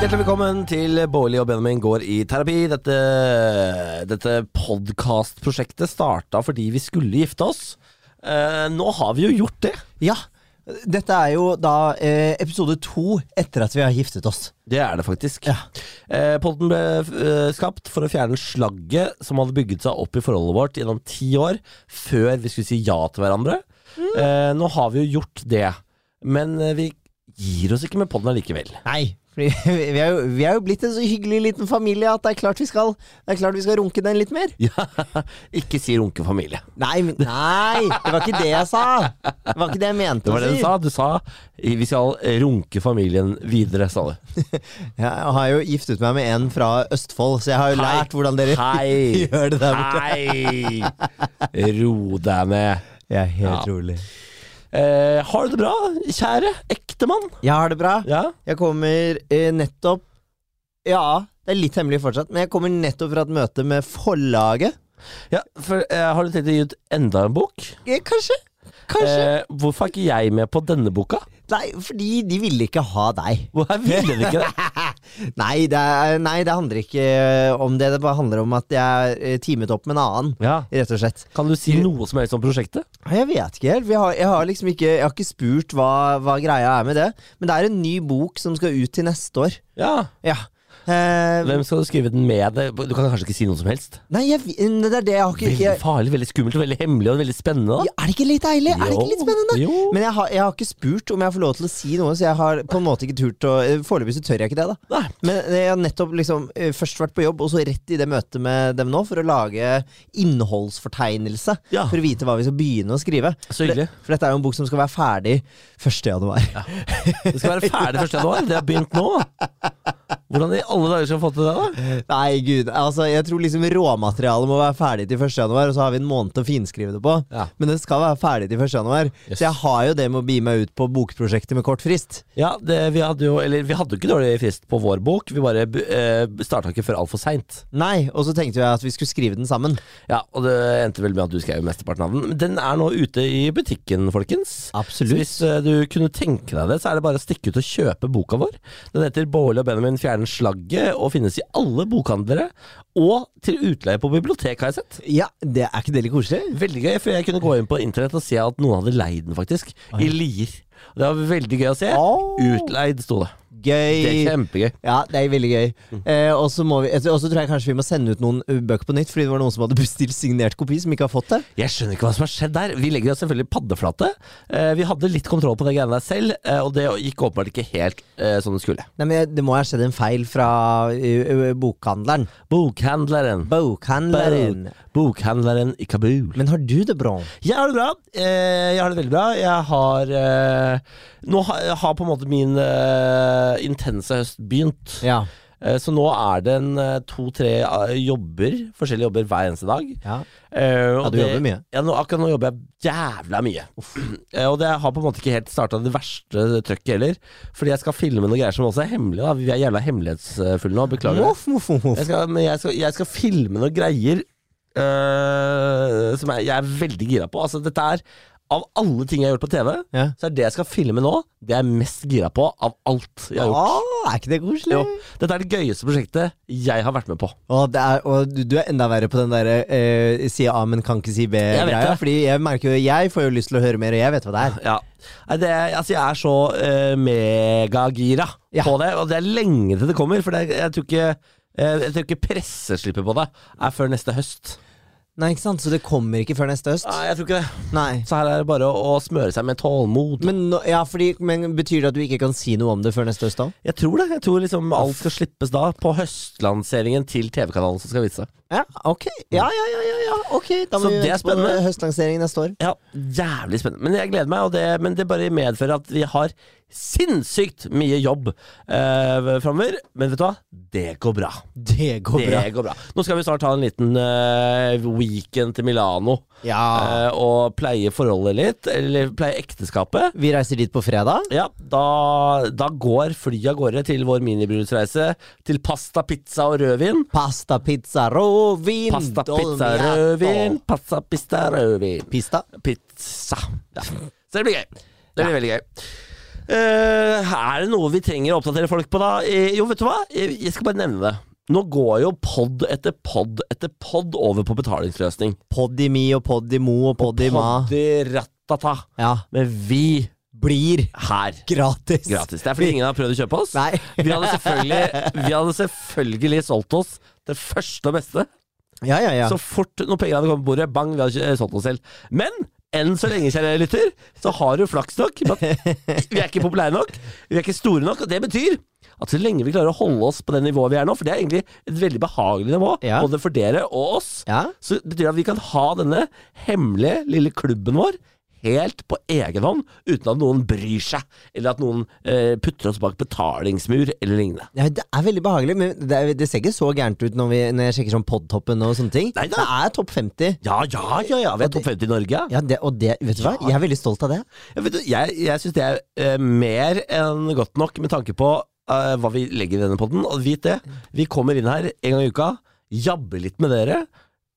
Hjertelig velkommen til Bårli og Benjamin går i terapi. Dette, dette podkastprosjektet starta fordi vi skulle gifte oss. Eh, nå har vi jo gjort det. Ja. Dette er jo da eh, episode to etter at vi har giftet oss. Det er det faktisk. Ja. Eh, podden ble eh, skapt for å fjerne slagget som hadde bygget seg opp i forholdet vårt gjennom ti år, før vi skulle si ja til hverandre. Eh, nå har vi jo gjort det, men eh, vi gir oss ikke med podden allikevel. Nei. Fordi vi er, jo, vi er jo blitt en så hyggelig liten familie at det er klart vi skal, det er klart vi skal runke den litt mer. Ja, ikke si runkefamilie. Nei, men, nei, det var ikke det jeg sa! Det var ikke det jeg mente. Det var det å du si. sa. Du sa eh, vi skal runke familien videre, sa du. Jeg har jo giftet meg med en fra Østfold, så jeg har jo Hei. lært hvordan dere Hei. gjør det der borte. Hei! Ro deg ned. Ja. Ja, helt rolig. Eh, har du det bra, kjære ektemann? Jeg har det bra. Ja. Jeg kommer eh, nettopp Ja, det er litt hemmelig fortsatt, men jeg kommer nettopp fra et møte med forlaget. ja for, eh, har du tenkt å gi ut enda en bok? Eh, Kanskje. Kanskje. Eh, hvorfor er ikke jeg med på denne boka? Nei, fordi de ville ikke ha deg. Hvorfor ville de ikke det? Nei det, er, nei, det handler ikke om det. Det bare handler om at jeg er eh, teamet opp med en annen, Ja. rett og slett. Kan du si noe som helst om prosjektet? Nei, Jeg vet ikke helt. Vi har, jeg har liksom ikke, jeg har ikke spurt hva, hva greia er med det. Men det er en ny bok som skal ut til neste år. Ja. Ja. Eh, Hvem skal du skrive den med? Du kan kanskje ikke si noe som helst? nei, jeg, vi- det er det jeg har ikke Veldig jeg, farlig, veldig skummelt, veldig hemmelig og veldig spennende. ja, Er det ikke litt deilig? Er det ikke litt Jo, spennende? jo. Men jeg har, jeg har ikke spurt om jeg får lov til å si noe, så jeg har på en måte ikke turt å eh, Foreløpig så tør jeg ikke det, da. Da. Nei. Men jeg har nettopp liksom eh, først vært på jobb, og så rett i det møtet med dem nå, for å lage innholdsfortegnelse. Ja. For å vite hva vi skal begynne å skrive. Så hyggelig. For, det, for dette er jo en bok som skal være ferdig 1. januar. Det skal være ferdig 1. januar. Det har begynt nå. Hvordan i alle dager skal vi få til det, da? Nei, gud. Altså, jeg tror liksom råmaterialet må være ferdig til 1. januar, og så har vi en måned å finskrive det på. Ja. Men det skal være ferdig til 1. januar. Yes. Så jeg har jo det med å bi meg ut på bokprosjektet med kort frist. Ja, det, vi hadde jo Eller vi hadde jo ikke dårlig frist på vår bok, vi bare uh, starta ikke før altfor seint. Nei, og så tenkte jeg at vi skulle skrive den sammen. Ja, og det endte vel med at du skrev mesteparten av den. Men Den er nå ute i butikken, folkens. Så Absolutt. hvis eh, du kunne tenke deg det, så er det bare å stikke ut og kjøpe boka vår. Den heter 'Bårli og Benjamin fjerner slagget' og finnes i alle bokhandlere. Og til utleie på bibliotek, har jeg sett. Ja, det er ikke det litt koselig? Veldig gøy, for jeg kunne gå inn på internett og se at noen hadde leid den, faktisk. I Lier. Det var veldig gøy å se. Åh. Utleid, sto det. Gøy. Det er kjempegøy. Ja, det er veldig gøy. Eh, og så må vi- og så tror jeg kanskje vi må sende ut noen ø, bøker på nytt, fordi det var noen som hadde bestilt signert kopi, som ikke har fått det. Jeg skjønner ikke hva som har skjedd der. Vi legger oss selvfølgelig paddeflate. Eh, vi hadde litt kontroll på det greiene der selv, eh, og det gikk åpenbart ikke helt eh, som det skulle. Nei, men Det må ha skjedd en feil fra ø, ø, bokhandleren. Bokhandleren. Bokhandleren. Bokhandleren i Kabul. Men har du det bra? Jeg har det bra. Eh, jeg har det veldig bra. Jeg har eh, Nå har, har på en måte min eh, intense høst begynt. Ja. Eh, så nå er det en eh, to-tre eh, jobber, forskjellige jobber hver eneste dag. ja. Eh, og du det- jobber mye. Ja, nå, akkurat nå jobber jeg jævla mye. Eh, og det har på en måte ikke helt starta det verste trøkket heller. Fordi jeg skal filme noen greier som også er hemmelige. Da. Vi er jævla hemmelighetsfulle nå, beklager. Voff, voff, voff, Jeg voff. skal, men jeg skal, jeg skal filme noen greier eh, som jeg, jeg er veldig gira på. Altså, dette er av alle ting jeg har gjort på TV, Ja. så er det jeg skal filme nå, det jeg er mest gira på av alt jeg har gjort. Å, er ikke det koselig? Jo, dette er det gøyeste prosjektet jeg har vært med på. Å, det er, og du, du er enda verre på den derre eh, si A, men kan ikke si vet B-greia. det. Fordi jeg merker jo Jeg får jo lyst til å høre mer, og jeg vet hva det er. Ja. Nei, det, altså, jeg er så eh, megagira Ja. på det, og det er lenge til det kommer. For det, er- jeg tror ikke eh, Jeg tror ikke presseslippet på det er før neste høst. Nei, ikke sant? Så det kommer ikke før neste høst? Nei, jeg tror ikke det. Nei. Så her er det bare å, å smøre seg med tålmod. Men, nå- ja, fordi, men Betyr det at du ikke kan si noe om det før neste høst? da? Jeg tror det. Jeg tror liksom alt skal slippes da, på høstlanseringen til TV-kanalen som skal vise seg. Ja, ok. Ja, ja, ja, ja, ja. ok. Da Så må vi det er vente på spennende. høstlanseringen neste år. Ja, jævlig spennende. Men jeg gleder meg, og det, men det bare medfører at vi har sinnssykt mye jobb eh, framover. Men vet du hva? Det går bra. Det går Det går bra. Nå skal vi snart ha en liten eh, weekend til Milano. Ja. eh, og pleie forholdet litt, eller pleie ekteskapet. Vi reiser dit på fredag. Ja, da, da går flyet av gårde til vår minibrudesreise. Til pasta, pizza og rødvin. Pasta, pizza, råvin. Pasta, pizza, dolmietto. rødvin. Pasta, pizza, rødvin. Pista. Pizza. Ja. Så det blir gøy. Det blir veldig gøy. Eh, er det noe vi trenger å oppdatere folk på, da? Eh, jo, vet du hva? Jeg jeg skal bare nevne det. Nå går jo pod etter pod etter pod over på betalingsløsning. Podimi og Podimo og Podima. Poddiratata. Ja. Men vi Blir her gratis. gratis. Det er fordi ingen har prøvd å kjøpe oss. Nei. Vi hadde, selvfølgelig, vi hadde selvfølgelig solgt oss det første og beste. Ja, ja, ja. Så fort noen penger hadde kommet på bordet, bang, vi hadde ikke eh, solgt oss selv. Men enn så lenge, kjære lytter, så har du flaks nok. med at Vi er ikke populære nok, vi er ikke store nok, og det betyr at så lenge vi klarer å holde oss på det nivået vi er nå, for det er egentlig et veldig behagelig nivå, Ja. både for dere og oss, ja. så betyr det at vi kan ha denne hemmelige lille klubben vår helt på egen hånd, uten at noen bryr seg, eller at noen eh, putter oss bak betalingsmur eller lignende. Ja, det er veldig behagelig, men det, er, det ser ikke så gærent ut når, vi, når jeg sjekker sånn podtoppen og sånne ting. Nei da. Det er topp 50. Ja, ja, ja, ja, vi er topp 50 i Norge. ja. Ja, det, og det, vet du hva? Jeg er veldig stolt av det. Jeg, vet, du, jeg, jeg syns det er eh, mer enn godt nok med tanke på eh, hva vi legger i denne podden. Og vit det, vi kommer inn her en gang i uka, jabber litt med dere,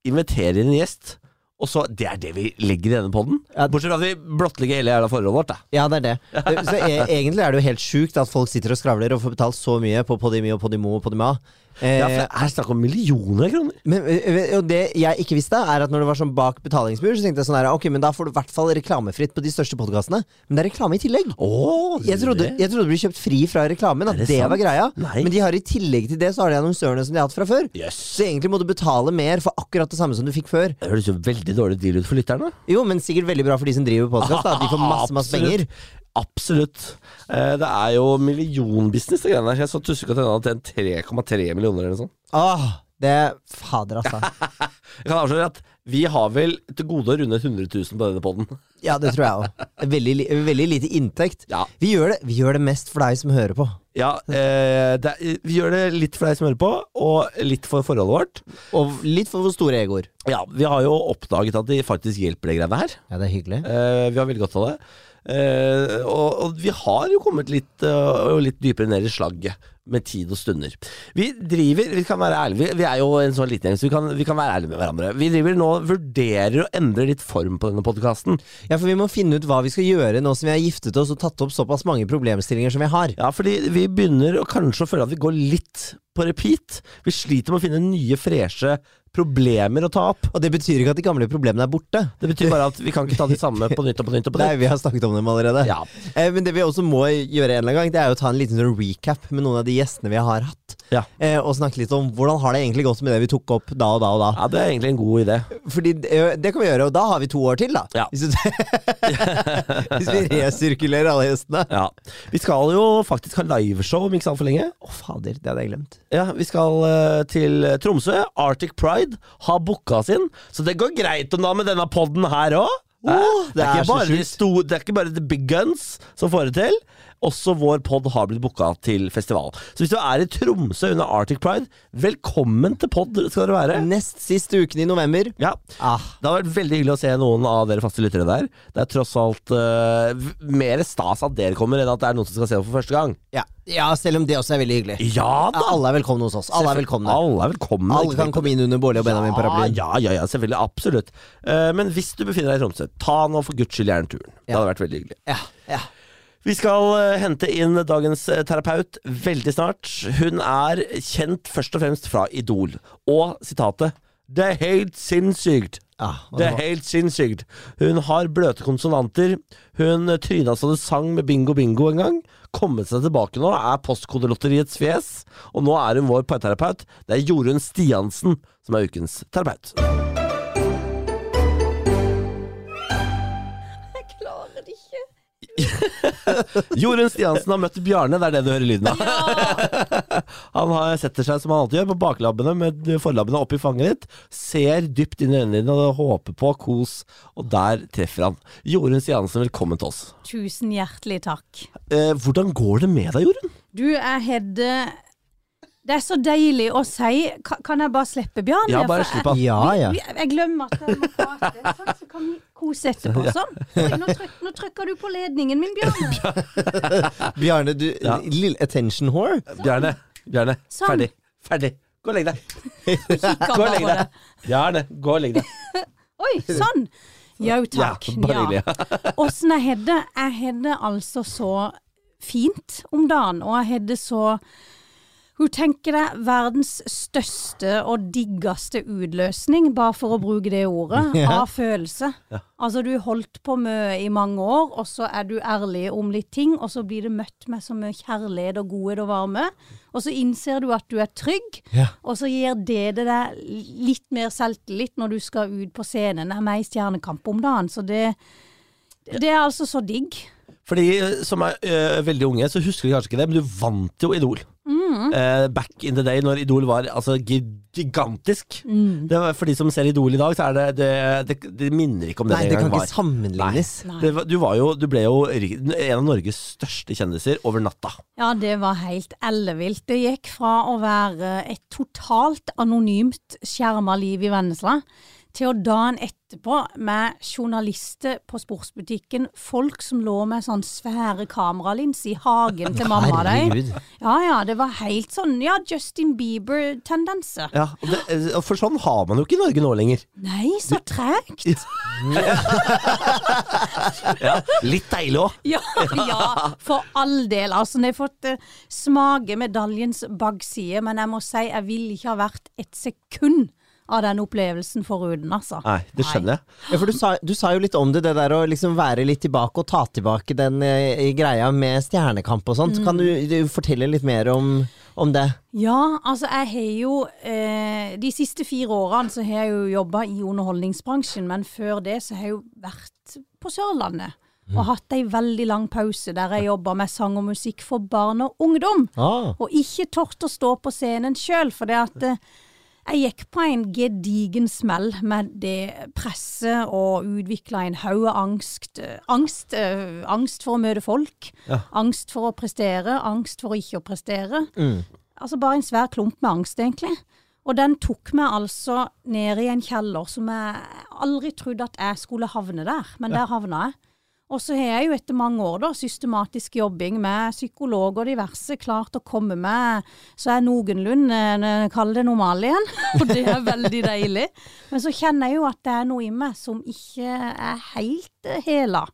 inviterer inn en gjest. Og så, Det er det vi legger i denne podden. Ja. Bortsett fra at vi blottlegger hele jævla forholdet vårt. Da. Ja, det er det. Så e egentlig er det jo helt sjukt at folk sitter og skravler og får betalt så mye på Podimi og Podimo og Podima. Eh, Ja, for det er snakk om millioner av kroner. men eh, og det jeg ikke visste, er at når det var sånn bak betalingsmur, så tenkte jeg sånn her, ok, men da får du i hvert fall reklamefritt på de største podkastene. Men det er reklame i tillegg. Oh, Jeg trodde, jeg trodde du ble kjøpt fri fra reklamen, at Er det det, sant? var greia. Nei. Men de har i tillegg til det, så har de annonsørene som de har hatt fra før. Jøss. Så egentlig må du betale mer for akkurat det samme som du fikk før. Det høres jo veldig dårlig deal ut for lytterne. Jo, men sikkert veldig bra for de som driver podkast. De får masse masse Absolutt. penger. Absolutt. Eh, det er jo millionbusiness, det greiene der. Jeg så Tusseka til en annen tjent 3,3 millioner eller noe sånt. Åh, Ah, det Fader, altså. Jeg kan avsløre at vi har vel til gode å runde 100 000 på denne podden. Ja, det tror jeg òg. Veldig, li- veldig lite inntekt. Ja. Vi gjør, det, vi gjør det mest for deg som hører på. Ja, eh, det, er- vi gjør det litt for deg som hører på, og litt for forholdet vårt. Og litt for våre store egoer. Ja, Vi har jo oppdaget at de faktisk hjelper, de greiene her. Ja, det er hyggelig. Eh, vi har veldig godt av det. Eh, og, og vi har jo kommet litt, eh, og litt dypere ned i slagget med tid og stunder. Vi driver, vi kan være ærlige, vi, vi er jo en sånn liten gjeng, så vi kan, vi kan være ærlige med hverandre. Vi driver nå og vurderer å endre litt form på denne podkasten. Ja, for vi må finne ut hva vi skal gjøre nå som vi har giftet oss og tatt opp såpass mange problemstillinger som vi har. Ja, fordi vi begynner å kanskje å føle at vi går litt på repeat. Vi sliter med å finne nye, freshe problemer å ta opp. Og det betyr ikke at de gamle problemene er borte. Det betyr bare at vi kan ikke ta de samme på nytt og på nytt. og på Nei, nytt. vi har snakket om dem allerede. Ja. Eh, men det vi også må gjøre en eller annen gang, det er jo å ta en liten sånn recap med noen av de gjestene vi har hatt. Ja. Eh, og snakke litt om hvordan har det egentlig gått med det vi tok opp da og da og da. ja, det er egentlig en god idé. Fordi det, det kan vi gjøre, og da har vi to år til, da. Ja. Hvis, du, hvis vi resirkulerer alle gjestene. Å, Ja. Vi skal jo faktisk ha liveshow om ikke så altfor lenge. fader, det hadde jeg glemt. Ja, Vi skal eh, til Tromsø. Arctic Pride har booka oss inn, så det går greit om da med denne podden her òg. Åh, det, det er er ikke så bare de sjukt. sto- det er ikke bare the big guns som får det til. Også vår pod har blitt booka til festival. Så hvis du er i Tromsø under Arctic Pride, velkommen til pod skal dere være. Nest siste uken i november. Ja. Ah, Det har vært veldig hyggelig å se noen av dere faste lyttere der. Det er tross alt eh, v- mer stas at dere kommer, enn at det er noen som skal se det for første gang. ja. ja, selv om det også er veldig hyggelig. Ja Ja, da! alle er velkomne hos oss. Alle er velkomne. Alle er velkomne. Alle ikke kan tenk på komme inn under Bårli og Benjamin-paraplyen. Ah, Ja, ja, ja, selvfølgelig. Absolutt. Eh, men hvis du befinner deg i Tromsø, ta nå for guds skyld gjerne turen. Det hadde vært veldig hyggelig. Ja, ja. Vi skal eh, hente inn dagens eh, terapeut veldig snart. Hun er kjent først og fremst fra Idol. Og sitatet 'Det er helt sinnssykt'. Ah, og Det det er helt sinnssykt. Hun har bløte konsonanter. Hun tryna så det sang med Bingo Bingo en gang. Kommet seg tilbake nå, er Postkodelotteriets fjes. Og nå er hun vår parterapeut. Det er Jorunn Stiansen som er ukens terapeut. Jeg klarer det ikke. Jorunn Stiansen har møtt Bjarne, det er det du hører lyden av. Han har, setter seg som han alltid gjør, på baklabbene med forlabbene opp i fanget ditt, ser dypt inn i øynene dine og håper på kos, og der treffer han. Jorunn Stiansen, velkommen til oss. Tusen hjertelig takk. Eh, hvordan går det med deg, Jorunn? Du, jeg hadde Det er så deilig å si Ka- Kan jeg bare slippe Bjørn? Ja, her, bare for slipp av. jeg- Ja, ja. Vi- Jeg glemmer at jeg må prate. Sånn, så kan vi kose etterpå. Sånn. Oi, Nå, tryk, nå trykker du på ledningen min, Bjørn. Bjarne, du Ja. Lille attention whore. Bjarne, Bjarne, Sånn. ferdig. Ferdig. Gå og legg deg. Kikker Gå og bare legg på det. deg. Bjarne, gå og legg deg. Oi, sånn. Jau, takk. sånn, Ja, bare hyggelig. Åssen jeg hadde Jeg hadde altså så fint om dagen, og jeg hadde så Hun tenker det verdens største og diggeste utløsning, bare for å bruke det ordet, Ja. av følelse. Altså, du holdt på mye i mange år, og så er du ærlig om litt ting, og så blir det møtt med så mye kjærlighet og godhet og varme. Og så innser du at du er trygg, Ja. og så gir det det deg litt mer selvtillit når du skal ut på scenen. Det er meg i Stjernekamp om dagen, så det, det er altså så digg. For de som er øh, veldig unge, så husker de kanskje ikke det, men du vant jo Idol. Mm. Eh, back in the day, når Idol var altså, gi- gigantisk. Mm. Det var, for de som ser Idol i dag, så er det Det, det, det minner ikke om det Nei, en det kan gang ikke var. sammenlignes. Nei. Det var- du, var jo, du ble jo en av Norges største kjendiser over natta. Ja, det var helt ellevilt. Det gikk fra å være et totalt anonymt skjerma liv i Vennesla, til å dagen etterpå med journalister på sportsbutikken, folk som lå med sånn svære kameralinser i hagen til mamma og de. Herregud. Ja ja, det var helt sånn ja, Justin Bieber-tendense. Ja, og det, eh, For sånn har man jo ikke i Norge nå lenger. Nei, så tregt! Litt deilig òg. Ja, ja, for all del. Altså, jeg har fått eh, smake medaljens bakside, men jeg må si jeg ville ikke ha vært et sekund av den opplevelsen foruten, altså. Nei, det skjønner jeg. Ja, for du sa, du sa jo litt om det, det der å liksom være litt tilbake og ta tilbake den eh, greia med Stjernekamp og sånt. Kan du, du fortelle litt mer om, om det? Ja, altså jeg har jo eh, De siste fire årene så har jeg jo jobba i underholdningsbransjen, men før det så har jeg jo vært på Sørlandet. Og hatt ei veldig lang pause der jeg jobba med sang og musikk for barn og ungdom. Og ikke tort å stå på scenen sjøl, for det at eh, jeg gikk på en gedigen smell med det presset og utvikla en haug av angst. eh, Angst, eh, angst for å møte folk, angst for å prestere, angst for å ikke å prestere. Altså bare en svær klump med angst, egentlig. Og den tok meg altså ned i en kjeller som jeg aldri trodde at jeg skulle havne der, men der havna jeg. Og så har jeg jo etter mange år da, systematisk jobbing med psykolog og diverse klart å komme med, så jeg er noenlunde eh, kall det normal igjen, og det er veldig deilig. Men så kjenner jeg jo at det er noe i meg som ikke er helt eh, hela.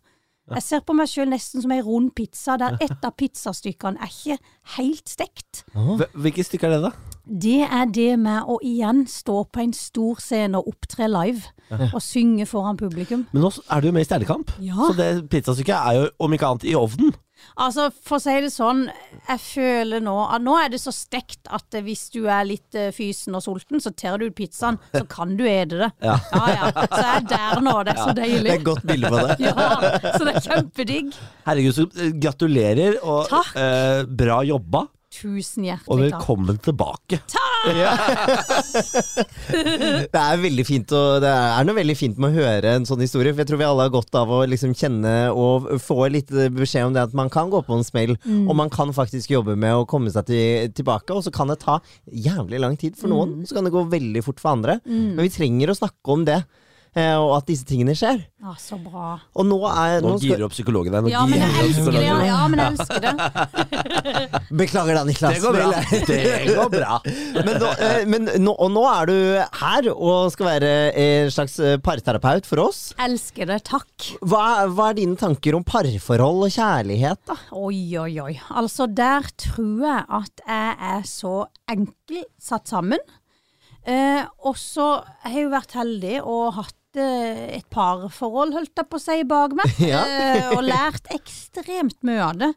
Jeg ser på meg sjøl nesten som ei rund pizza, der ett av pizzastykkene er ikke helt stekt. Hvil- Hvilke stykker er det, da? Det er det med å igjen stå på en stor scene og opptre live, og synge foran publikum. Men nå er du jo med i Stjernekamp, Ja. så det pizzastykket er jo om ikke annet i ovnen. Altså, for å si det sånn, jeg føler nå at nå er det så stekt at eh, hvis du er litt eh, fysen og sulten, så ter du ut pizzaen, så kan du ete det. Ja. ja Så jeg er der nå, det er så Det deilig. er et godt bilde på det. Ja, så det er kjempedigg. Herregud, så eh, gratulerer, og Takk. eh, bra jobba. Tusen Og hjertelig takk. velkommen tilbake. Det er veldig fint å, det er noe veldig fint med å høre en sånn historie. For jeg tror vi alle har godt av å liksom kjenne og få litt beskjed om det at man kan gå på en smell, og man kan faktisk jobbe med å komme seg til, tilbake. Og så kan det ta jævlig lang tid for noen, så kan det gå veldig fort for andre. Men vi trenger å snakke om det, eh, og at disse tingene skjer. Ja, Ah, så bra. Og nå er Nå nå skal, girer opp psykologen deg. nå Ja, men girer jeg opp elsker det. psykologen. Ja, ja, men jeg elsker det. Beklager da, Niklas. Det går bra. Det går bra. men nå, eh, men nå, og nå er du her og skal være en slags eh, parterapeut for oss. Elsker det, takk. Hva, er- hva er dine tanker om parforhold og kjærlighet, da? Oi, oi, oi. Altså, der tror jeg at jeg er så enkelt satt sammen. Eh, og så har jeg jo vært heldig og hatt eh, et parforhold, holdt jeg på å si, bak meg. Ja. eh, og lært ekstremt mye av det.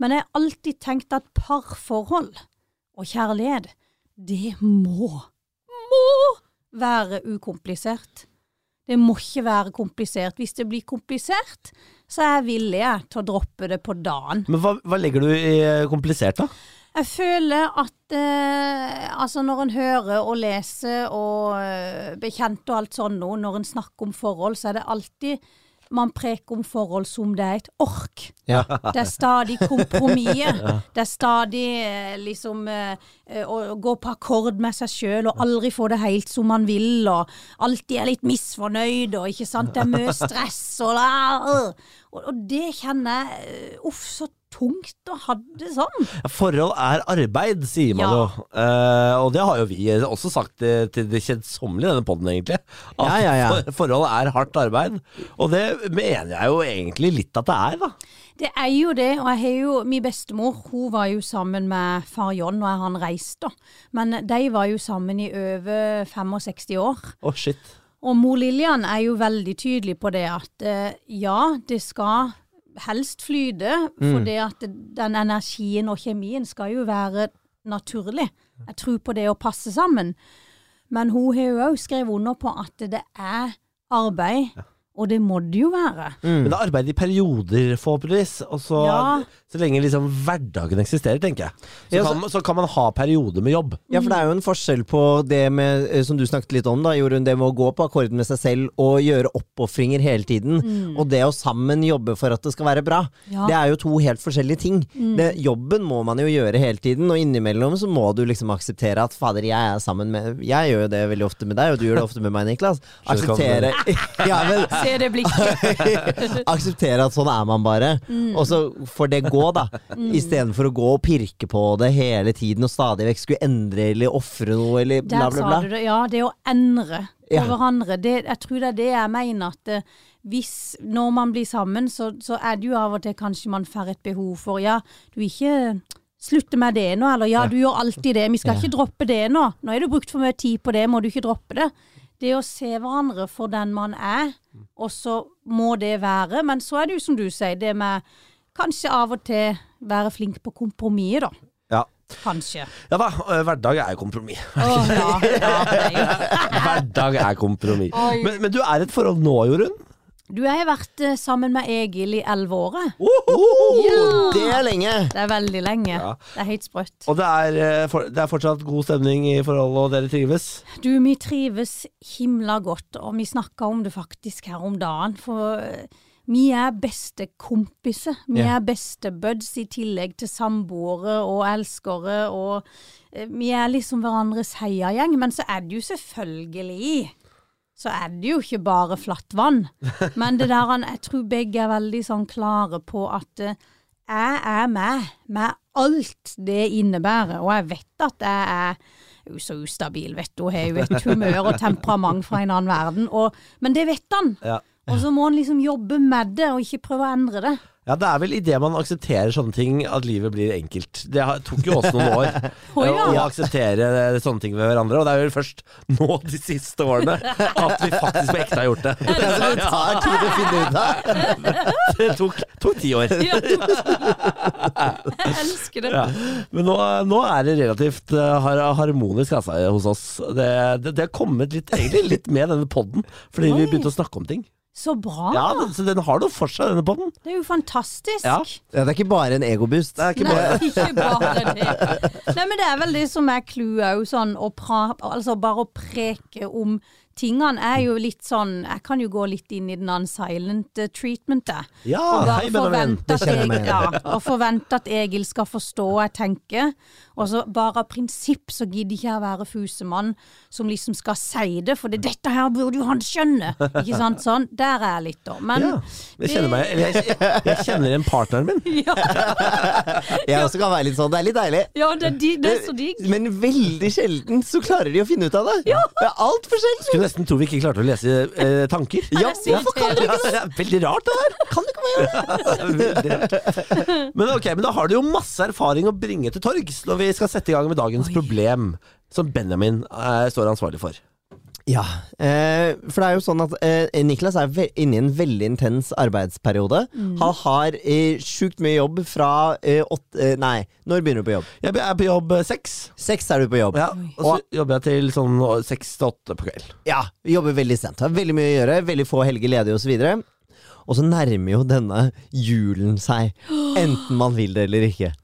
Men jeg har alltid tenkt at parforhold og kjærlighet, det må, må være ukomplisert. Det må ikke være komplisert. Hvis det blir komplisert, så er jeg villig jeg, til å droppe det på dagen. Men hva, hva legger du i eh, komplisert, da? Jeg føler at eh, altså når en hører og leser og eh, bekjente og alt sånn nå, når en snakker om forhold, så er det alltid man preker om forhold som det er et ork. Ja. Det er stadig kompromisset. Det er stadig eh, liksom eh, eh, å å gå på akkord med seg sjøl og aldri få det helt som man vil, og alltid er litt misfornøyd og øh. ikke sant, det er mye stress og la- og, og det kjenner jeg eh, Uff, så tungt å ha det sånn. Forhold er arbeid, sier man Ja. jo. Eh, og det har jo vi også sagt eh, til det kjedsommelige i denne podden, egentlig. At Ja, ja, ja. for- forhold er hardt arbeid. Og det mener jeg jo egentlig litt at det er, da. Det er jo det, og jeg har jo min bestemor hun var jo sammen med far John når han reiste. da. Men de var jo sammen i over 65 år. Å, shit. Og mor Lillian er jo veldig tydelig på det at eh, ja, det skal helst flyte, for det at den energien og kjemien skal jo være naturlig. Jeg tror på det å passe sammen. Men hun har jo òg skrevet under på at det er arbeid, og det må det jo være. Mm. Men det er arbeid i perioder, forhåpentligvis. Og så, Ja. så lenge liksom hverdagen eksisterer, tenker jeg. Så, Ja, så- kan, man- så kan man ha perioder med jobb. Ja, for det er jo en forskjell på det med, eh, som du snakket litt om, da, Jorunn, det med å gå på akkord med seg selv og gjøre oppofringer hele tiden, og det å sammen jobbe for at det skal være bra. Ja. Det er jo to helt forskjellige ting. Det, jobben må man jo gjøre hele tiden, og innimellom så må du liksom akseptere at fader, jeg er sammen med Jeg gjør jo det veldig ofte med deg, og du gjør det ofte med meg, Niklas. Skjønner Akseptere ja, men, Se det blikket. Akseptere at sånn er man bare. Mm. Og så får det gå, da. Istedenfor å gå og pirke på det hele tiden og stadig vekk skulle endre eller ofre noe eller bla, Der bla, sa du bla. det. Ja, det å endre på Ja. hverandre. Det, jeg tror det er det jeg mener at eh, hvis, når man blir sammen, så, så er det jo av og til kanskje man får et behov for Ja, du ikke slutter med det nå, eller ja, du gjør alltid det, vi skal ikke droppe det nå. Nå har du brukt for mye tid på det, må du ikke droppe det. Det å se hverandre for den man er, og så må det være. Men så er det jo som du sier, det med kanskje av og til være flink på kompromisset, da. Ja. Kanskje. ja da, eh, hverdag er jo kompromiss. Åh, ja, ja, det er jo Hverdag er kompromiss. Oi. Men, men du er i et forhold nå, Jorunn? Du jeg har vært eh, sammen med Egil i elleve år. jeg. Oh, det er lenge! Det er veldig lenge. Det er helt sprøtt. Og det er, eh, for, det er fortsatt god stemning i forholdet, og dere trives? Du, vi trives himla godt, og vi snakka om det faktisk her om dagen. For eh, vi er beste kompiser. Vi Ja. er beste buds i tillegg til samboere og elskere. Og eh, vi er liksom hverandres heiagjeng. Men så er det jo selvfølgelig så er det jo ikke bare flatt vann. Men det der, han- jeg tror begge er veldig sånn klare på at eh, jeg er med, med alt det innebærer. Og jeg vet at jeg er jo så ustabil, vet du. Hun har jo et humør og temperament fra en annen verden. Og, men det vet han. Ja. Og så må han liksom jobbe med det, og ikke prøve å endre det. Ja, Det er vel idet man aksepterer sånne ting at livet blir enkelt. Det har- tok jo oss noen år Å, ja. eh, å akseptere eh, sånne ting ved hverandre. Og det er vel først nå de siste årene at vi faktisk på ekte har gjort det. Det er som det tar tid å finne ut av. Det tok, tok ti år. jeg elsker det. Ja. Men nå, nå er det relativt eh, har, harmonisk altså, hos oss. Det, det, det har kommet litt, egentlig litt med denne poden, fordi vi Oi. begynte å snakke om ting. Så bra. Ja, den, Så den har noe for seg, denne poden. Det er jo fantastisk. Ja. Ja, det er ikke bare en egoboost. Det er ikke bare Nei, ikke bare det. Nei, men det er vel det som er clouet òg, sånn å pra, altså bare å preke om tingene er jo litt sånn Jeg kan jo gå litt inn i den non-silent eh, treatment, jeg. Ja, Og hei, bare Benjamin. forvente Det at, kjenner jeg Egil, meg igjen ja, og forvente at Egil skal forstå hva jeg tenker. Og så bare av prinsipp så gidder ikke jeg å være fusemann som liksom skal si det, for det, dette her burde jo han skjønne. Ikke sant? Sånn. Der er jeg litt, da. Men Ja, jeg kjenner meg eller jeg, jeg, jeg kjenner igjen partneren min. Jeg også kan være litt sånn. Det er litt deilig. Ja, det, er de- det er så digg. Men veldig sjelden så klarer de å finne ut av det. Det er altfor sjelden. Skulle nesten tro vi ikke klarte å lese eh, tanker. Ja, det er så hvorfor kan dere ikke det? Ja, det er veldig rart, det her. Kan ikke bare gjøre det? Veldig rart. Men ok, men da har du jo masse erfaring å bringe til torgs når vi skal sette i gang med dagens problem, som Benjamin eh, står ansvarlig for. Ja, eh, for det er jo sånn at eh, Niklas er ve inne i en veldig intens arbeidsperiode. Han har eh, sjukt mye jobb fra eh, åtte eh, Nei, når begynner du på jobb? Jeg er på jobb eh, seks. Seks er du på jobb. Ja, og så jobber jeg til sånn å, seks til åtte på kvelden. Ja, jobber veldig sent. Har veldig mye å gjøre, veldig få helger ledige osv. Og så nærmer jo denne julen seg, enten man vil det eller ikke.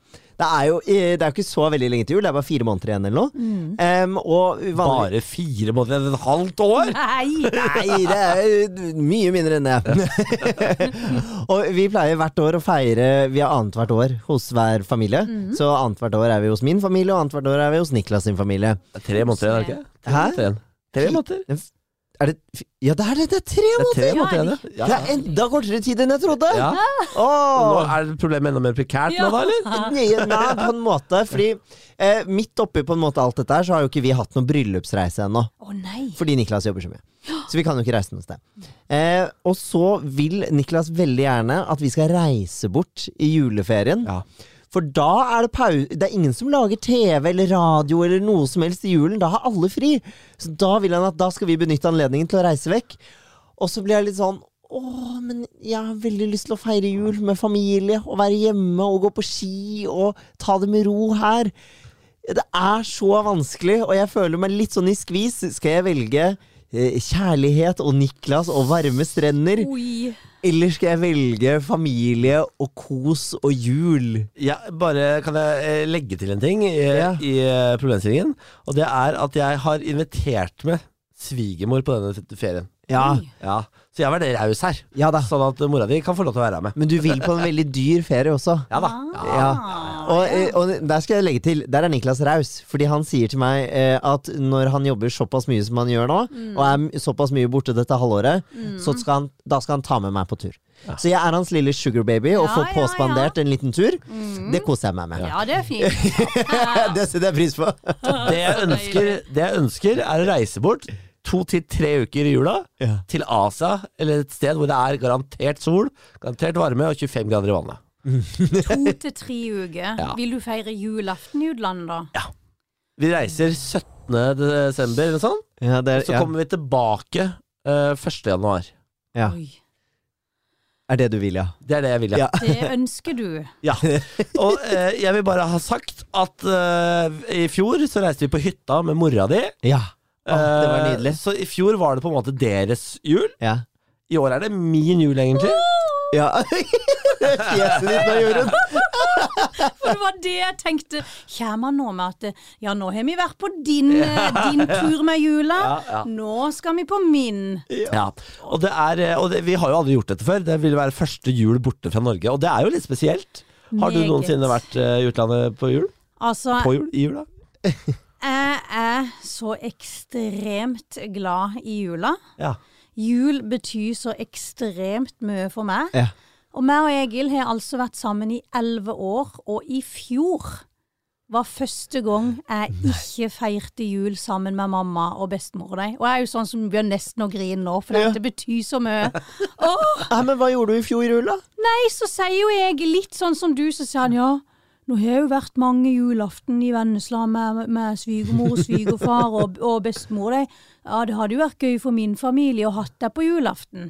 Det er jo eh, det er jo ikke så veldig lenge til jul, det er bare fire måneder igjen eller noe. Em, og vanlig- Bare fire måneder, et halvt år? Nei! Nei, det er jo mye mindre enn det. og vi pleier hvert år å feire Vi har annethvert år hos hver familie. Så annethvert år er vi hos min familie, og annethvert år er vi hos Niklas sin familie. Tre måneder igjen, er det ikke? Tre Hæ? måneder igjen. Tre måneder. Er er det, Ja, det er det! Det er tre Det er måneder! tre Ja, måneder er igjen, det ja. Det er enda kortere tid enn jeg trodde! ja. Nå Åh. er problemet enda mer prekært nå, da, eller? Nei, nei, på en måte. Fordi eh, midt oppi på en måte alt dette her, så har jo ikke vi hatt noen bryllupsreise ennå. Å nei. Fordi Niklas jobber så mye. Så vi kan jo ikke reise noe sted. Eh, og så vil Niklas veldig gjerne at vi skal reise bort i juleferien. Ja. For da er det pau- Det er ingen som lager TV eller radio eller noe som helst i julen. Da har alle fri. Så da vil han at da skal vi benytte anledningen til å reise vekk. Og så blir jeg litt sånn Åh, men jeg har veldig lyst til å feire jul med familie og være hjemme og gå på ski og ta det med ro her. Det er så vanskelig, og jeg føler meg litt sånn i skvis. Skal jeg velge eh, kjærlighet og Niklas og varme strender? Oi. Eller skal jeg velge familie og kos og jul? Ja, bare kan jeg eh, legge til en ting i, Ja. i eh, problemstillingen. Og det er at jeg har invitert med svigermor på denne f- ferien. Ja, Ja, Så jeg var der raus her. ja da. Sånn at mora di kan få lov til å være med. Men du vil på en veldig dyr ferie også. Ja da. Ja. Ah, Og, eh, og der skal jeg legge til, der er Niklas raus. Fordi han sier til meg eh, at når han jobber såpass mye som han gjør nå, Mm. og er m- såpass mye borte dette halvåret, så skal han, da skal han ta med meg på tur. Så jeg er hans lille sugar baby og Ja, får ja, Mm. påspandert en liten tur. Det koser jeg meg med. Ja, det er fint. det setter jeg pris på. Det jeg ønsker, det jeg ønsker er å reise bort to til tre uker i jula Ja. til Asia, eller et sted hvor det er garantert sol, garantert varme og 25 grader i vannet. To til tre uker. Ja. Vil du feire julaften i utlandet, da? Vi reiser 17. desember eller sånn, Ja, det er, så ja. kommer vi tilbake eh, 1. januar. Ja. Oi. er det du vil, ja. Det er det jeg vil, Ja. Det ønsker du. Ja, og eh, jeg vil bare ha sagt at eh, i fjor så reiste vi på hytta med mora di. Ja. Å, det var Eh, nydelig. så i fjor var det på en måte deres jul. Ja. I år er det min jul, egentlig. Eh, ja. Det er Fjeset ditt nå, Jorunn. For det var det jeg tenkte. Kommer han nå med at eh, Ja, nå har vi vært på din, eh, din tur med jula. Ja, ja. Nå skal vi på min. Ja. Og, det er, eh, og det, vi har jo aldri gjort dette før. Det vil være første jul borte fra Norge, og det er jo litt spesielt. Har du Meget. noensinne vært eh, i utlandet på jul? Altså, På jul? I jula? jeg er så ekstremt glad i jula. Ja. Jul betyr så ekstremt mye for meg. Ja. Og meg og Egil har altså vært sammen i elleve år, og i fjor var første gang jeg ikke feirte jul sammen med mamma og bestemor og de. Og jeg er jo sånn som begynner nesten å grine nå, for Ja. dette betyr så mye. Åh, Nei, men hva gjorde du i fjor jul, da? nei, så sier jo Egil litt sånn som du, så sier han ja. Nå har jeg jo vært mange julaften i Vennesla med, med svigermor og svigerfar og, og bestemor og de. Ja, det hadde jo vært gøy for min familie å hatt deg på julaften.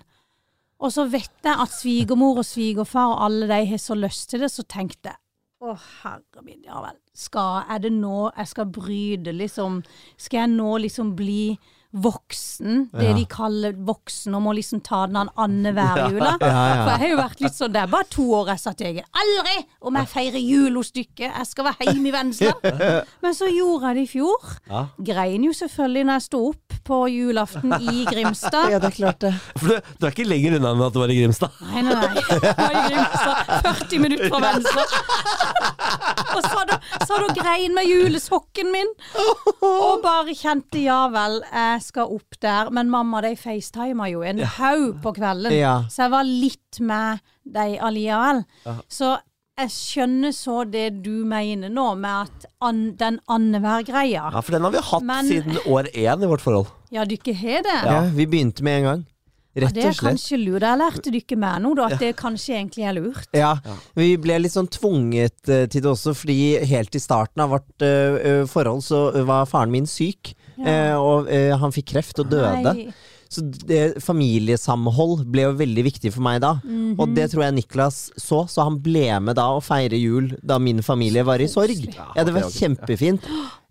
Og så vet jeg at svigermor og svigerfar og alle de har så lyst til det, så tenkte jeg å herre min, ja vel. Skal, er det nå jeg skal bryte, liksom? Skal jeg nå liksom bli voksen? Det de kaller voksen, og må liksom ta den an annenhver jula? ja, ja. For jeg har jo vært litt sånn, det er bare to år jeg satt i egen. Aldri om jeg feirer jul hos dere! Jeg skal være hjemme i Vennesla! Men så gjorde jeg det i fjor. Ja. Grein jo selvfølgelig når jeg sto opp på julaften i Grimstad. Ja, det er klart det. For du, du er ikke lenger unna enn at du var i Grimstad. Nei, nei, nei. Det var i Grimstad. 40 minutter fra venstre. Og så da, så da grein med julesokken min. Og bare kjente ja vel, jeg skal opp der. Men mamma de facetima jo en haug på kvelden, Ja. så jeg var litt med de allikevel. Så jeg skjønner så det du mener nå, med at an, den annenhver-greia. Ja, For den har vi hatt Men- siden år én i vårt forhold. Ja, dere har det? Ja, vi begynte med en gang. Rett Det og er slett. kanskje lurt. Jeg lærte dere med nå, da, at det kanskje egentlig er lurt. Ja, Vi ble litt sånn tvunget eh, til det også, fordi helt i starten av vårt eh, eh, forhold så var faren min syk. eh, og eh, han fikk kreft og døde. Nei. Så det, familiesamhold ble jo veldig viktig for meg da. Mhm. Og det tror jeg Niklas så, så han ble med da og feire jul da min familie var i sorg. Ja, Ja, det var ok, ok. kjempefint.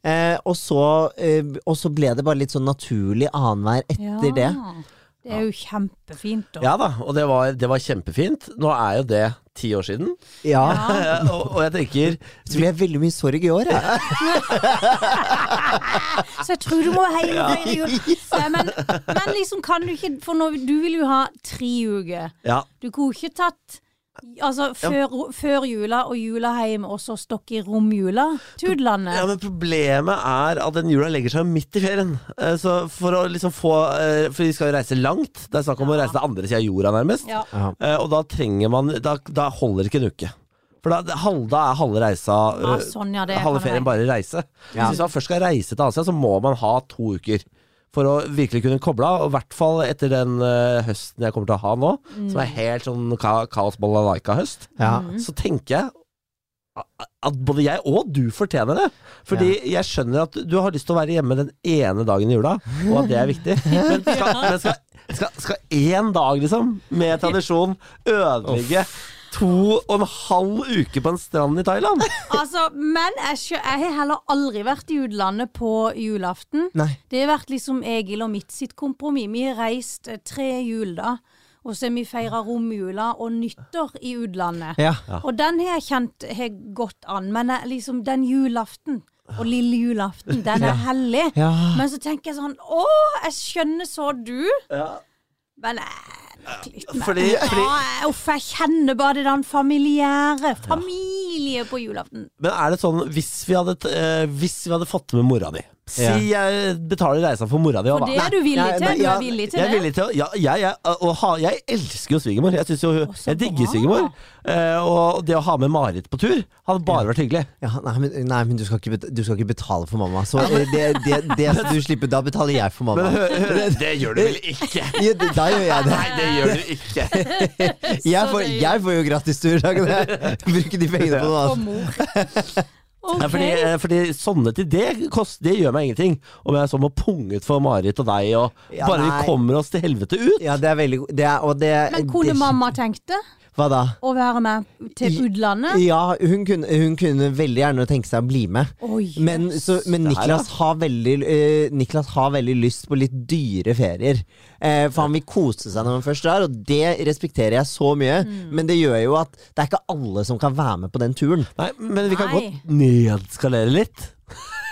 Eh, og, så, eh, og så ble det bare litt sånn naturlig annenhver etter det. Det er jo kjempefint, da. Ja da, og det var, det var kjempefint. Nå er jo det ti år siden. Ja. Eh, og, og jeg tenker Så blir jeg veldig mye sorg i år, jeg. Så jeg tror du må hjem og feire jul. Nei, Men, men liksom kan du ikke For nå, du vil jo ha tre uker. Ja, Du kunne ikke tatt Altså før, før jula og juleheim, og så stokk i romjula. Ja, Tudlandet. men Problemet er at den jula legger seg midt i ferien. Eh, Så for å liksom få eh, For vi skal jo reise langt. Det er snakk om å Ja. reise til andre sida av jorda, nærmest. Ja. Eh, Og da trenger man Da, da holder ikke en uke. For da, halv- da er halve reisa ja, eh, sånn ja, det Halve kan ferien være. bare reise. Ja. Hvis man først skal reise til Asia, så må man ha to uker. For å virkelig kunne koble av, og i hvert fall etter den eh, høsten jeg kommer til å ha nå, som Mm. er helt sånn ka kaos balalaika-høst, Ja. så tenker jeg a- at både jeg og du fortjener det. Fordi jeg skjønner at du har lyst til å være hjemme den ene dagen i jula, og at det er viktig. Men skal, men skal, skal, skal én dag, liksom, med tradisjon, ødelegge to og en halv uke på en strand i Thailand? Altså, men jeg, skjø- jeg har heller aldri vært i utlandet på julaften. Nei. Det har vært liksom Egil og mitt sitt kompromiss. Vi har reist eh, tre jul da, og så har vi feira romjula og nyttår i utlandet. Ja. Og den har jeg kjent har gått an, men jeg, liksom den julaften og lille julaften, den er hellig. Ja. Men så tenker jeg sånn Å, jeg skjønner så du. Ja. Men jeg Fordi, fordi, Ja, Uff, jeg kjenner bare det den familiære. Familie på julaften. men er det sånn, hvis vi hadde, eh, hvis vi hadde fått med mora di Si jeg betaler reisa for mora di. og For hva- det er du villig Nei, til. nei, Du ja, er villig til jeg er det. villig til å ja, jeg, jeg, og ha, jeg elsker jo svigermor. Jeg, synes jo, hun- så jeg digger bra. svigermor. Eh, og det å ha med Marit på tur hadde bare vært hyggelig. Ja, nei, men, nei, men du, skal ikke betale, du skal ikke betale for mamma. Så eh, det, det, det du slipper, da betaler jeg for mamma. Eh, Det gjør du vel ikke? Ja, det- da gjør jeg det. det gjør du ikke. Jeg Så får, det- jeg får jo gratis tur. da kan jeg Bruke de pengene på noe Og annet. mor. Ja, Ok. fordi, eh, fordi sånne til det, kost, det gjør meg ingenting. Om jeg så må punge ut for Marit og deg, og Ja, bare nei. vi kommer oss til helvete ut. Ja, det er veldig god- det er, og det, Men kunne det- mamma tenkt det? Hva da? Å være med til I- utlandet? Ja, hun kunne, hun kunne veldig gjerne tenke seg å bli med. Oi. Men, så, men Det her, ja. Niklas, har veldig, eh, Niklas har veldig lyst på litt dyre ferier. Eh, for han vil kose seg når han først drar, og det respekterer jeg så mye. Mm. Men det gjør jo at det er ikke alle som kan være med på den turen. Nei, men vi kan Nei. godt nedskalere litt.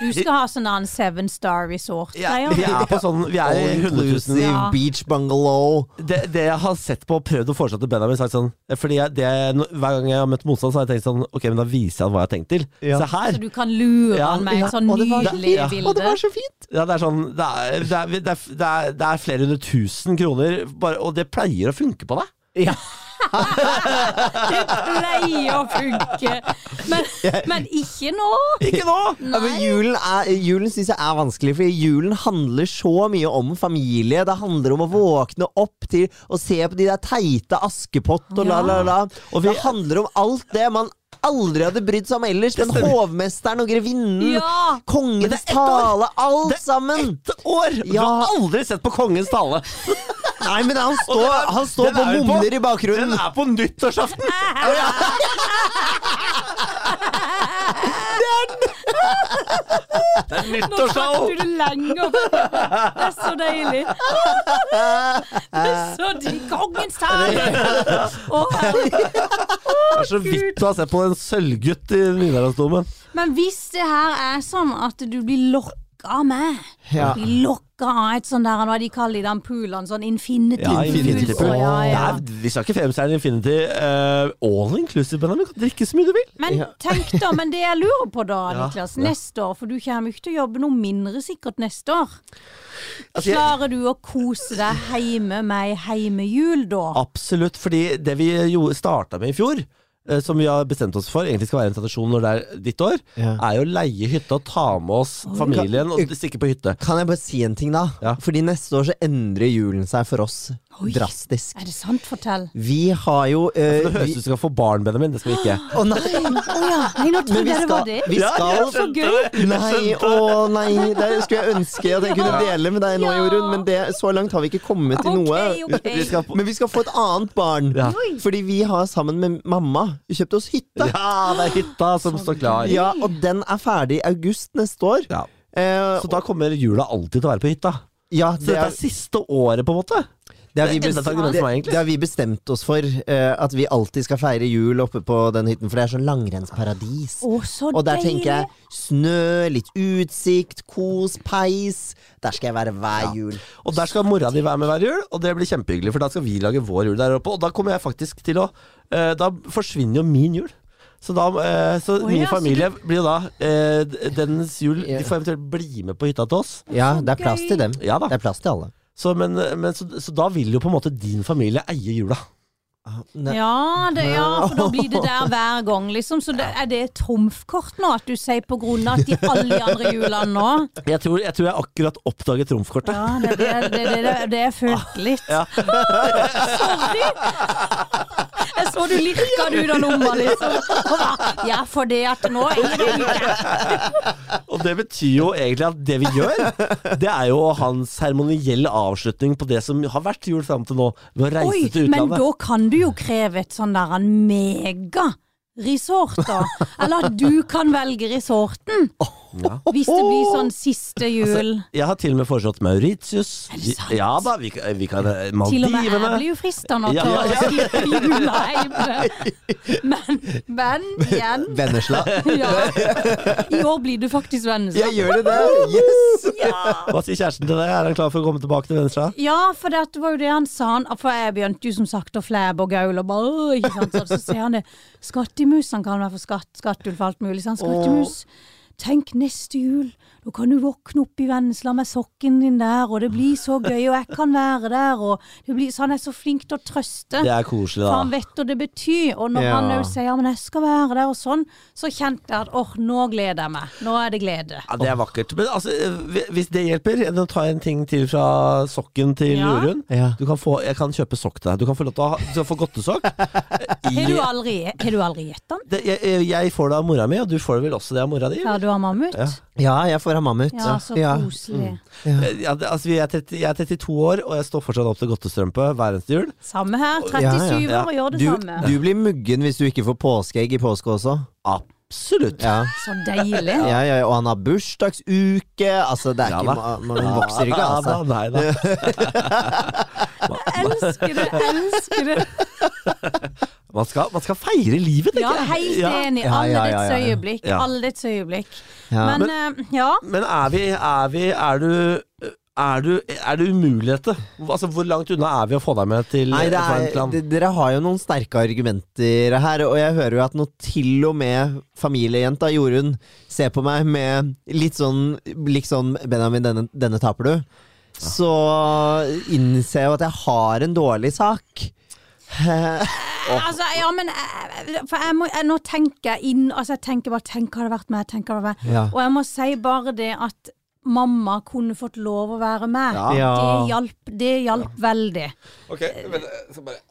Du skal ha sånn annen Seven Star Resort-greier. Vi er på sånn Vi er i 100 000 All-inclusive Ja. beach bungalow. det, det jeg har sett på og prøvd å foreslå til Benjamin sagt sånn, Fordi jeg, det, no- Hver gang jeg har møtt motstand, så har jeg tenkt sånn Ok, men da viser jeg han hva jeg har tenkt til. Ja. Se her! Så du kan lure Ja, han med ja, et sånn og det var- nydelig ja, og Og det bilde. var så fint! Ja, det er sånn det er, det, er, det, er, det, er, det er flere hundre tusen kroner, bare, og det pleier å funke på deg. Ja. Det pleier å funke. Men, men ikke nå. Ikke nå! Ja, men Altså, julen er, julen syns jeg er vanskelig, for julen handler så mye om familie. Det handler om å våkne opp til å se på de der teite Askepott og la, la, la. Og det handler om alt det man aldri hadde brydd seg om ellers. Men hovmesteren og grevinnen, Ja. Men det er kongens ett år. tale, alt Det er sammen. Ett år! Du Ja. har aldri sett på Kongens tale. Nei, men han Og står, den er- han står den på er jo på- mumler i Den bakgrunnen. er på nyttårsaften! Det er Nå nyttårsshow! trakk du det lenger. Det er så deilig. Det er så digg. Kongens tale! Å, herregud. Det er så vidt du har sett på en sølvgutt i Nidarosdomen. Men hvis det her er sånn at du blir lokka med Ja. Blir lokka av et sånn der, hva de kaller de den poolen, sånn infinity Ja, pool. Infinity Pool. Å, Ja, ja. Det er- Vi skal ikke femstjerne Infinity. eh, all inclusive, Benjamin. Kan drikke så mye du vil. Men tenk da, men det jeg lurer på da, Ja, Niklas, ja. neste år, for du kommer jo ikke til å jobbe noe mindre sikkert neste år. Altså, jeg- Klarer du å kose deg heime med ei heimejul Ah. da? Absolutt, fordi det vi starta med i fjor, eh, som vi har bestemt oss for egentlig skal være en tradisjon når det er ditt år, Ja. er jo å leie hytte og ta med oss familien og stikke på hytte. Kan jeg bare si en ting, da? Ja. Fordi neste år så endrer julen seg for oss Oi. drastisk. Er det sant? Fortell. Vi har jo eh, Det høres vi- ut som du skal få barn, Benjamin. Det skal vi ikke. Å nei! Å ja. Nei, nå Men trodde vi jeg det skal, var det. vi Ja, jeg skal Så gøy! Nei, å nei! Det skulle jeg ønske at jeg kunne dele med deg nå, Ja. Jorunn, men det, så langt har vi ikke kommet til noe. Ok, ok. Vi skal på Men vi skal få et annet barn. Ja. Fordi vi har sammen med mamma kjøpt oss hytte. Ja, det er hytta som står klar. Ja, Og den er ferdig i august neste år. Ja. Eh, Så da kommer jula alltid til å være på hytta. ja, Så det dette er er, siste året, på en måte. Det har, vi Det er enda et bestemt, argument det, for meg, egentlig. det har vi bestemt oss for. eh, at vi alltid skal feire jul oppe på den hytten, for det er sånn langrennsparadis. Å, så Og der deilig! tenker jeg snø, litt utsikt, kos, peis. Der skal jeg være hver jul. Og der skal mora di være med hver jul, og det blir kjempehyggelig, for da skal vi lage vår jul der oppe. Og da kommer jeg faktisk til å eh, Da forsvinner jo min jul. Så, da, eh, så Oi, min ja, så familie blir jo da eh, d- dens jul Ja. De får eventuelt bli med på hytta til oss. Ja, det er plass gøy. til dem. Ja da. Det er plass til alle. Så, men, men, så, så da vil jo på en måte din familie eie jula. Ja, det, ja, for da blir det der hver gang, liksom. Så det, er det et trumfkort nå, at du sier på grunn av at de alle de andre julene nå Jeg tror jeg, tror jeg akkurat oppdaget trumfkortet. Ja, det er det, det, det, det, det jeg følte litt. Sorry! Jeg så du lirka du da lomma, liksom. Og bare, Ja, for det at nå er det ikke Og det betyr jo egentlig at det vi gjør, det er jo å ha en seremoniell avslutning på det som har vært jul fram til nå, ved å reise Oi, til men utlandet. da kan du jo kreve et sånn der en mega resort, da. Eller at du kan velge resorten. Hvis det blir sånn siste Altså, jul. Jeg har til og med foreslått Mauritius. Er det sant? Ja da, vi, kan- vi kan eh, Til og med jeg Maldivene. blir jo frista nå Ja, til ja, ja. å skippe jula hjemme. Men, men igjen Vennesla. ja. I år blir du Jeg faktisk venneslapp. gjør det der! Yes! Hva sier kjæresten til deg? Er han klar for å komme tilbake til Vennesla? Ja, for det at var jo det han sa. Han, "Ah, for jeg begynte jo som sagt å flæbe og gaule og bare «Åh», ikke sant? Så, så ser han det. Skattemus, han kan være for skatt, skatteulv og alt mulig. sant? Skattemus. Tenk neste jul, da kan du våkne opp i Vennesla med sokken din der, og det blir så gøy, og jeg kan være der, og det blir, så han er så flink til å trøste. Det er koselig, For han da. vet hva det betyr. Og når Ja. han òg sier ja, men jeg skal være der og sånn, så kjente jeg at åh, nå gleder jeg meg. Nå er det glede. Ja, det er vakkert. Men altså, eh, hvis det hjelper, da tar jeg en ting til fra sokken til Ja. Jorunn. Ja. Du kan få, jeg kan kjøpe sokk til deg. Du kan få lov til å ha, du skal få godtesokk. Eh, I- Har du aldri, har du aldri gitt den? Det, jeg, jeg- jeg får det av mora mi, og du får det vel også det av mora di? Har du av mammut? Ja. Ja, Ja, jeg får ha mammut. så Ja. mm. koselig. Ja, det, altså, jeg, er 30, jeg er 32 år, og jeg står fortsatt opp til godtestrømpe hver eneste jul. Samme her. ja. 37 Ja. år og gjør det Du, samme. du blir muggen hvis du ikke får påskeegg i påske også. Absolutt. Ja. Så deilig. Ja, ja, og han har bursdagsuke. Altså, det er Ja da. ikke, ma- man vokser ikke, Ja, altså. da, nei da. Elsker det, elsker det. Man skal, man skal feire livet, tenker Ja, jeg. helt Ja. enig. Ja, Alle ja, ja, dets ja, ja. øyeblikk. Ja. Alle dets øyeblikk. Ja. Men eh, ja. Men er vi, er vi Er du er du, er det umulig dette? Altså, Hvor langt unna er vi å få deg med til Nei, det fra et er, land? d- dere har jo noen sterke argumenter her, og jeg hører jo at nå til og med familiejenta Jorunn ser på meg med litt sånn, litt sånn Benjamin, denne, denne taper du. Så innser jeg jo at jeg har en dårlig sak. Altså, ja, men eh, For jeg må, jeg, nå tenker jeg inn Altså, jeg tenker bare Tenk hva det har vært med, tenk hva det har vært med. Ja. Og jeg må si bare det at mamma kunne fått lov å være med. Ja. Ja. Det hjalp, det hjalp veldig. Ok, men, eh, så bare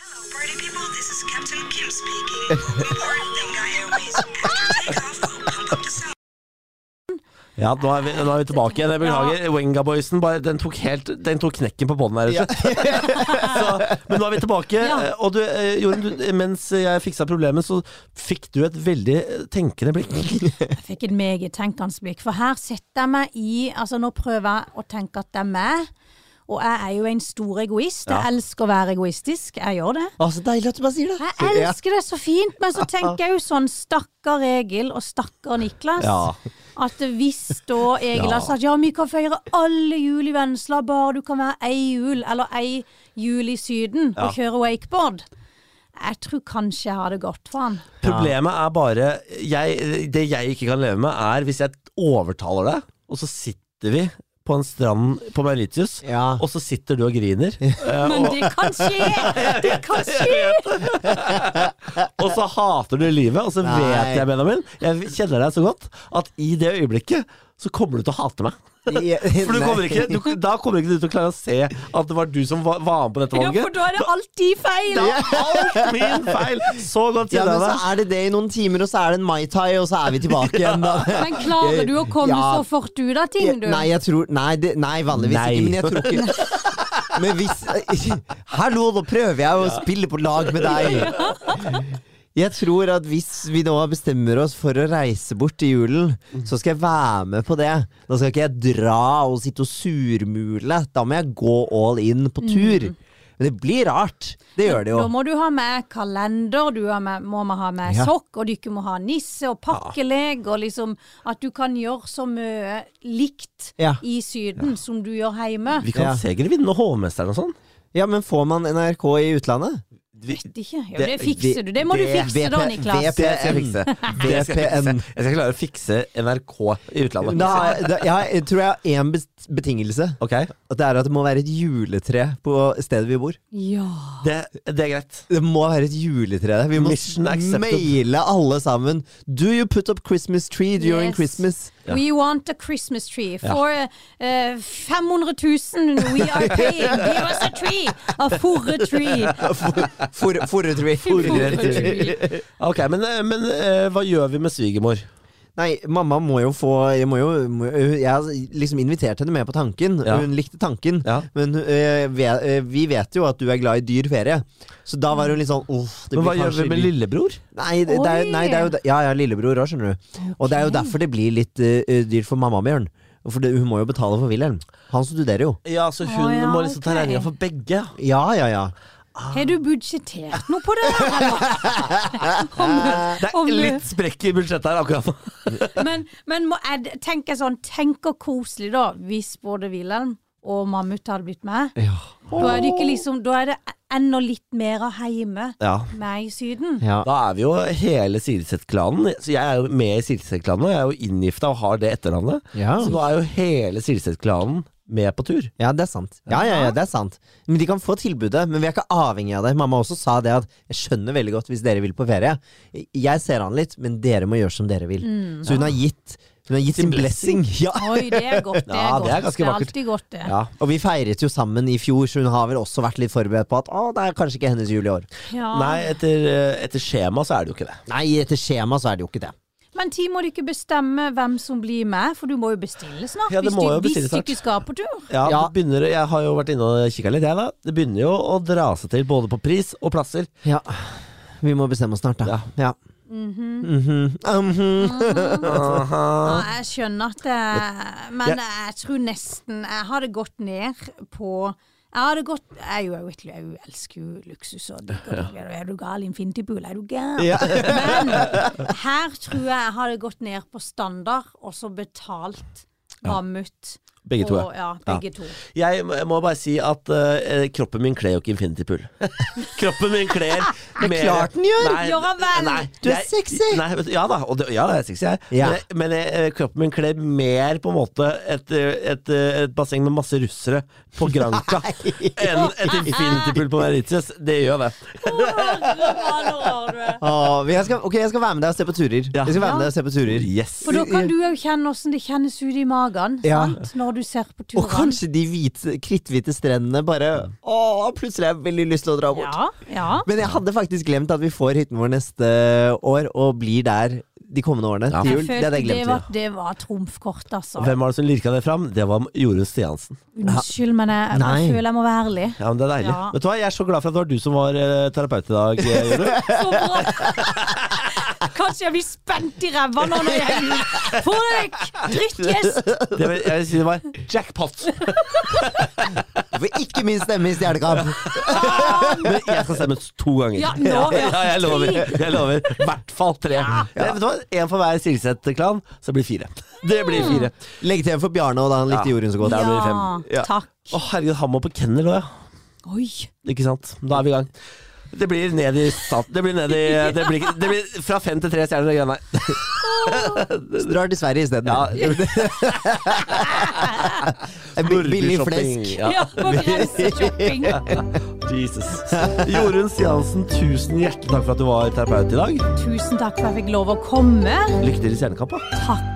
Hello, party people. This is Captain Kim speaking. Report Delga Airways. After takeoff, we'll pump up the sound. Ja, nå er vi, nå er vi tilbake igjen. Jeg beklager. Wenga-boysen bare- den tok, helt- den tok knekken på båndet her. rett og slett. Så, men nå er vi tilbake. Ja. Og du, eh, Jorunn, du, mens jeg fiksa problemet, så fikk du et veldig eh, tenkende blikk. Jeg fikk et meget tenkende blikk. For her setter jeg meg i Altså, nå prøver jeg å tenke at det er meg. Og jeg er jo en stor egoist. Jeg elsker å være egoistisk. Jeg gjør det. Å, så deilig at du bare sier det. Jeg elsker det så fint, men så tenker jeg jo sånn stakkar Egil og stakkar Niklas. Ja. At hvis da Egil har sagt ja, vi kan feire alle jul i Vennesla, bare du kan være ei jul eller ei jul i Syden og kjøre wakeboard. Jeg tror kanskje jeg hadde gått for han. Problemet er bare jeg, Det jeg ikke kan leve med, er hvis jeg overtaler deg, og så sitter vi på en strand på Mauritius, Ja. og så sitter du og griner. eh, Men det kan skje! Det kan skje! og så hater du livet, og så vet Nei. jeg, Benjamin, jeg kjenner deg så godt, at i det øyeblikket så kommer du til å hate meg. For du kommer ikke, du, Da kommer ikke du til å klare å se at det var du som var, var med på dette Ja, valget. for da er det alltid feil! Det er alt min feil! Så godt Ja, kjenner jeg men så deg. er det det i noen timer, og så er det en Mai Tai, og så er vi tilbake igjen. da. Men klarer du å komme Ja. så fort ut av ting, du? Nei, jeg tror Nei, det, nei vanligvis Nei. ikke, men jeg tror ikke Men hvis Hallo, nå prøver jeg å spille på lag med deg! Jeg tror at hvis vi nå bestemmer oss for å reise bort i julen, så skal jeg være med på det. Da skal ikke jeg dra og sitte og surmule. Da må jeg gå all in på tur. Men det blir rart. Det gjør det jo. Mm. Da må du ha med kalender, du har med, må ha med Ja. sokk, og dere må ha nisse og pakkelek, og liksom at du kan gjøre så mye likt Ja. i Syden som du gjør hjemme. Vi kan Ja. sikkert vinne Hovmesteren og sånn. Ja, men får man NRK i utlandet? Vet ikke. Ja, Det- det fikser du. Det må du det- fikse da, VP Niklas. Det skal jeg fikse. Det skal jeg fikse. VPN. Jeg skal klare å fikse NRK i utlandet. Da, da, ja, jeg tror jeg har én bet- betingelse. Ok, At det er at det må være et juletre på stedet vi bor. Ja. det, det er greit. Det må være et juletre der. Vi må Mission accepted. maile alle sammen. Do you put up Christmas tree during Yes. Christmas? We want a Christmas tree for eh, 500 000. We are paying. Give us a tree! A forre tree. For- Forretre. Forre tree. Ok, Men, eh, men eh, hva gjør vi med svigermor? Nei, mamma må jo få Jeg, må jo, må, jeg har liksom invitert henne med på tanken, Ja. og hun likte tanken. Ja. Men øh, vi, øh, vi vet jo at du er glad i dyr ferie, så da var hun litt sånn Åh, det Men blir hva gjør vi kanskje med litt- lillebror? Nei, det, det er, Oi! nei, det er jo de- Ja, jeg har lillebror òg, skjønner du. Og det er jo Ok. derfor det blir litt øh, øh, dyrt for mamma, Bjørn. For det, hun må jo betale for Wilhelm. Han studerer jo. Ja, så hun Å, ja, må liksom ta ok. regninga for begge. Ja, ja, ja. Har du budsjettert noe på det der, eller? Om- Det om- er litt sprekk i budsjettet her akkurat nå. Men, men må jeg tenker sånn, tenk og koselig da, hvis både Wilhelm og Mammut hadde blitt med. Ja. Da er det, ikke liksom, da er det enda litt mer av heime Ja. med i Syden. ja. Da er vi jo hele Silseth-klanen. Så Jeg er jo med i Silseth-klanen, og jeg er jo inngifta og har det etternavnet. Ja. Så nå er jo hele Silseth-klanen med på tur. Ja, det er sant. Ja, ja, ja, det er sant. Men de kan få tilbudet, men vi er ikke avhengig av det. Mamma også sa det at jeg skjønner veldig godt hvis dere vil på ferie. Jeg ser han litt, men dere må gjøre som dere vil. Så hun har gitt, hun har gitt Mm. sin blessing. Ja. Oi, det er godt. Det er, Ja, godt. det er ganske vakkert. alltid godt, det. Ja. Og vi feiret jo sammen i fjor, så hun har vel også vært litt forberedt på at å, det er kanskje ikke hennes jul i år. Ja. Nei, etter, eh, etter skjema så er det jo ikke det. Nei, etter skjema så er det jo ikke det. Men tid må du ikke bestemme hvem som blir med, for du må jo bestille snart. Ja, det hvis må du, jo bestille hvis du snart. ikke skal på tur. Ja, Ja. Det begynner, jeg har jo vært inne og kikka litt, jeg da. Det begynner jo å dra seg til både på pris og plasser. Ja. Vi må bestemme oss snart, da. Ja. Mhm. Ja, jeg skjønner at det Men jeg tror nesten Jeg hadde gått ned på jeg hadde gått, jeg, er jo- jeg, vet, jeg elsker jo luksus og digg og digg. Er du gal? Infinity-pool, er du gal? Ja. Men her tror jeg jeg hadde gått ned på standard og så betalt mammut. Begge to, og, ja. Begge to. Jeg må- jeg må bare si at eh, kroppen min kler jo ikke Infinity Pool. kroppen min kler Det er klart den gjør! Gjør han vel? Du er sexy! Nei, vet du- ja da, og det, ja, da, jeg er sexy, jeg. Ja. Men, jeg- men jeg, eh, kroppen min kler mer på en måte et, eh, et, eh, et basseng med masse russere på Granca enn et Infinity Pool på Mauritius. Det gjør det. Åh, jeg skal, ok, jeg skal være med deg og se på turer. Ja. Jeg skal være med deg og se på turer. Yes. For da kan du jo kjenne åssen det kjennes ut i magen Ja. sant? når du ser på Og turene. kanskje de hvite, kritthvite strendene bare Åh, plutselig har jeg veldig lyst til å dra bort. Ja, ja. Men jeg hadde faktisk glemt at vi får hytten vår neste år, og blir der de kommende årene Ja. til Jeg jul. Det hadde jeg følte det glemt. var, det var trumfkort, altså. Hvem var det som lirka det fram? Det var Jorunn Stiansen. Unnskyld, men jeg, Nei. jeg føler jeg må være ærlig. Ja, men det er deilig. Ja. Vet du hva, Jeg er så glad for at det var du som var eh, terapeut i dag, eh, Jorunn. Så bra! Kanskje jeg blir spent i ræva nå når jeg henger ut. Få deg vekk! Drittgjest! Det vil- Jeg vil si det var jackpot. For ikke min stemme i Stjernekamp! Men jeg skal stemme to ganger. Ja, nå, ja. jeg lover. Jeg lover. I hvert fall tre. Det, vet du hva? En for hver Silseth-klan, så blir det fire. Det blir fire. Legg til for Bjarne, og da han likte Ja. jorden så godt. Der blir det Ja, fem. Ja. takk. Å, herregud, han må på kennel òg, ja. Oi. Ikke sant. Da er vi i gang. Det blir ned i stat... Det blir ned i Det blir, ikke- det blir fra fem til tre stjerner, det greiene der. Så drar til Sverige isteden. Ja. En bi- Billig Shopping, flesk. Ja. Ja, på grenseshopping. Jesus. Jorunn Stiansen, tusen hjertelig takk for at du var terapeut i dag. Tusen takk for at jeg fikk lov å komme. Lykke til i Stjernekamp, da. Takk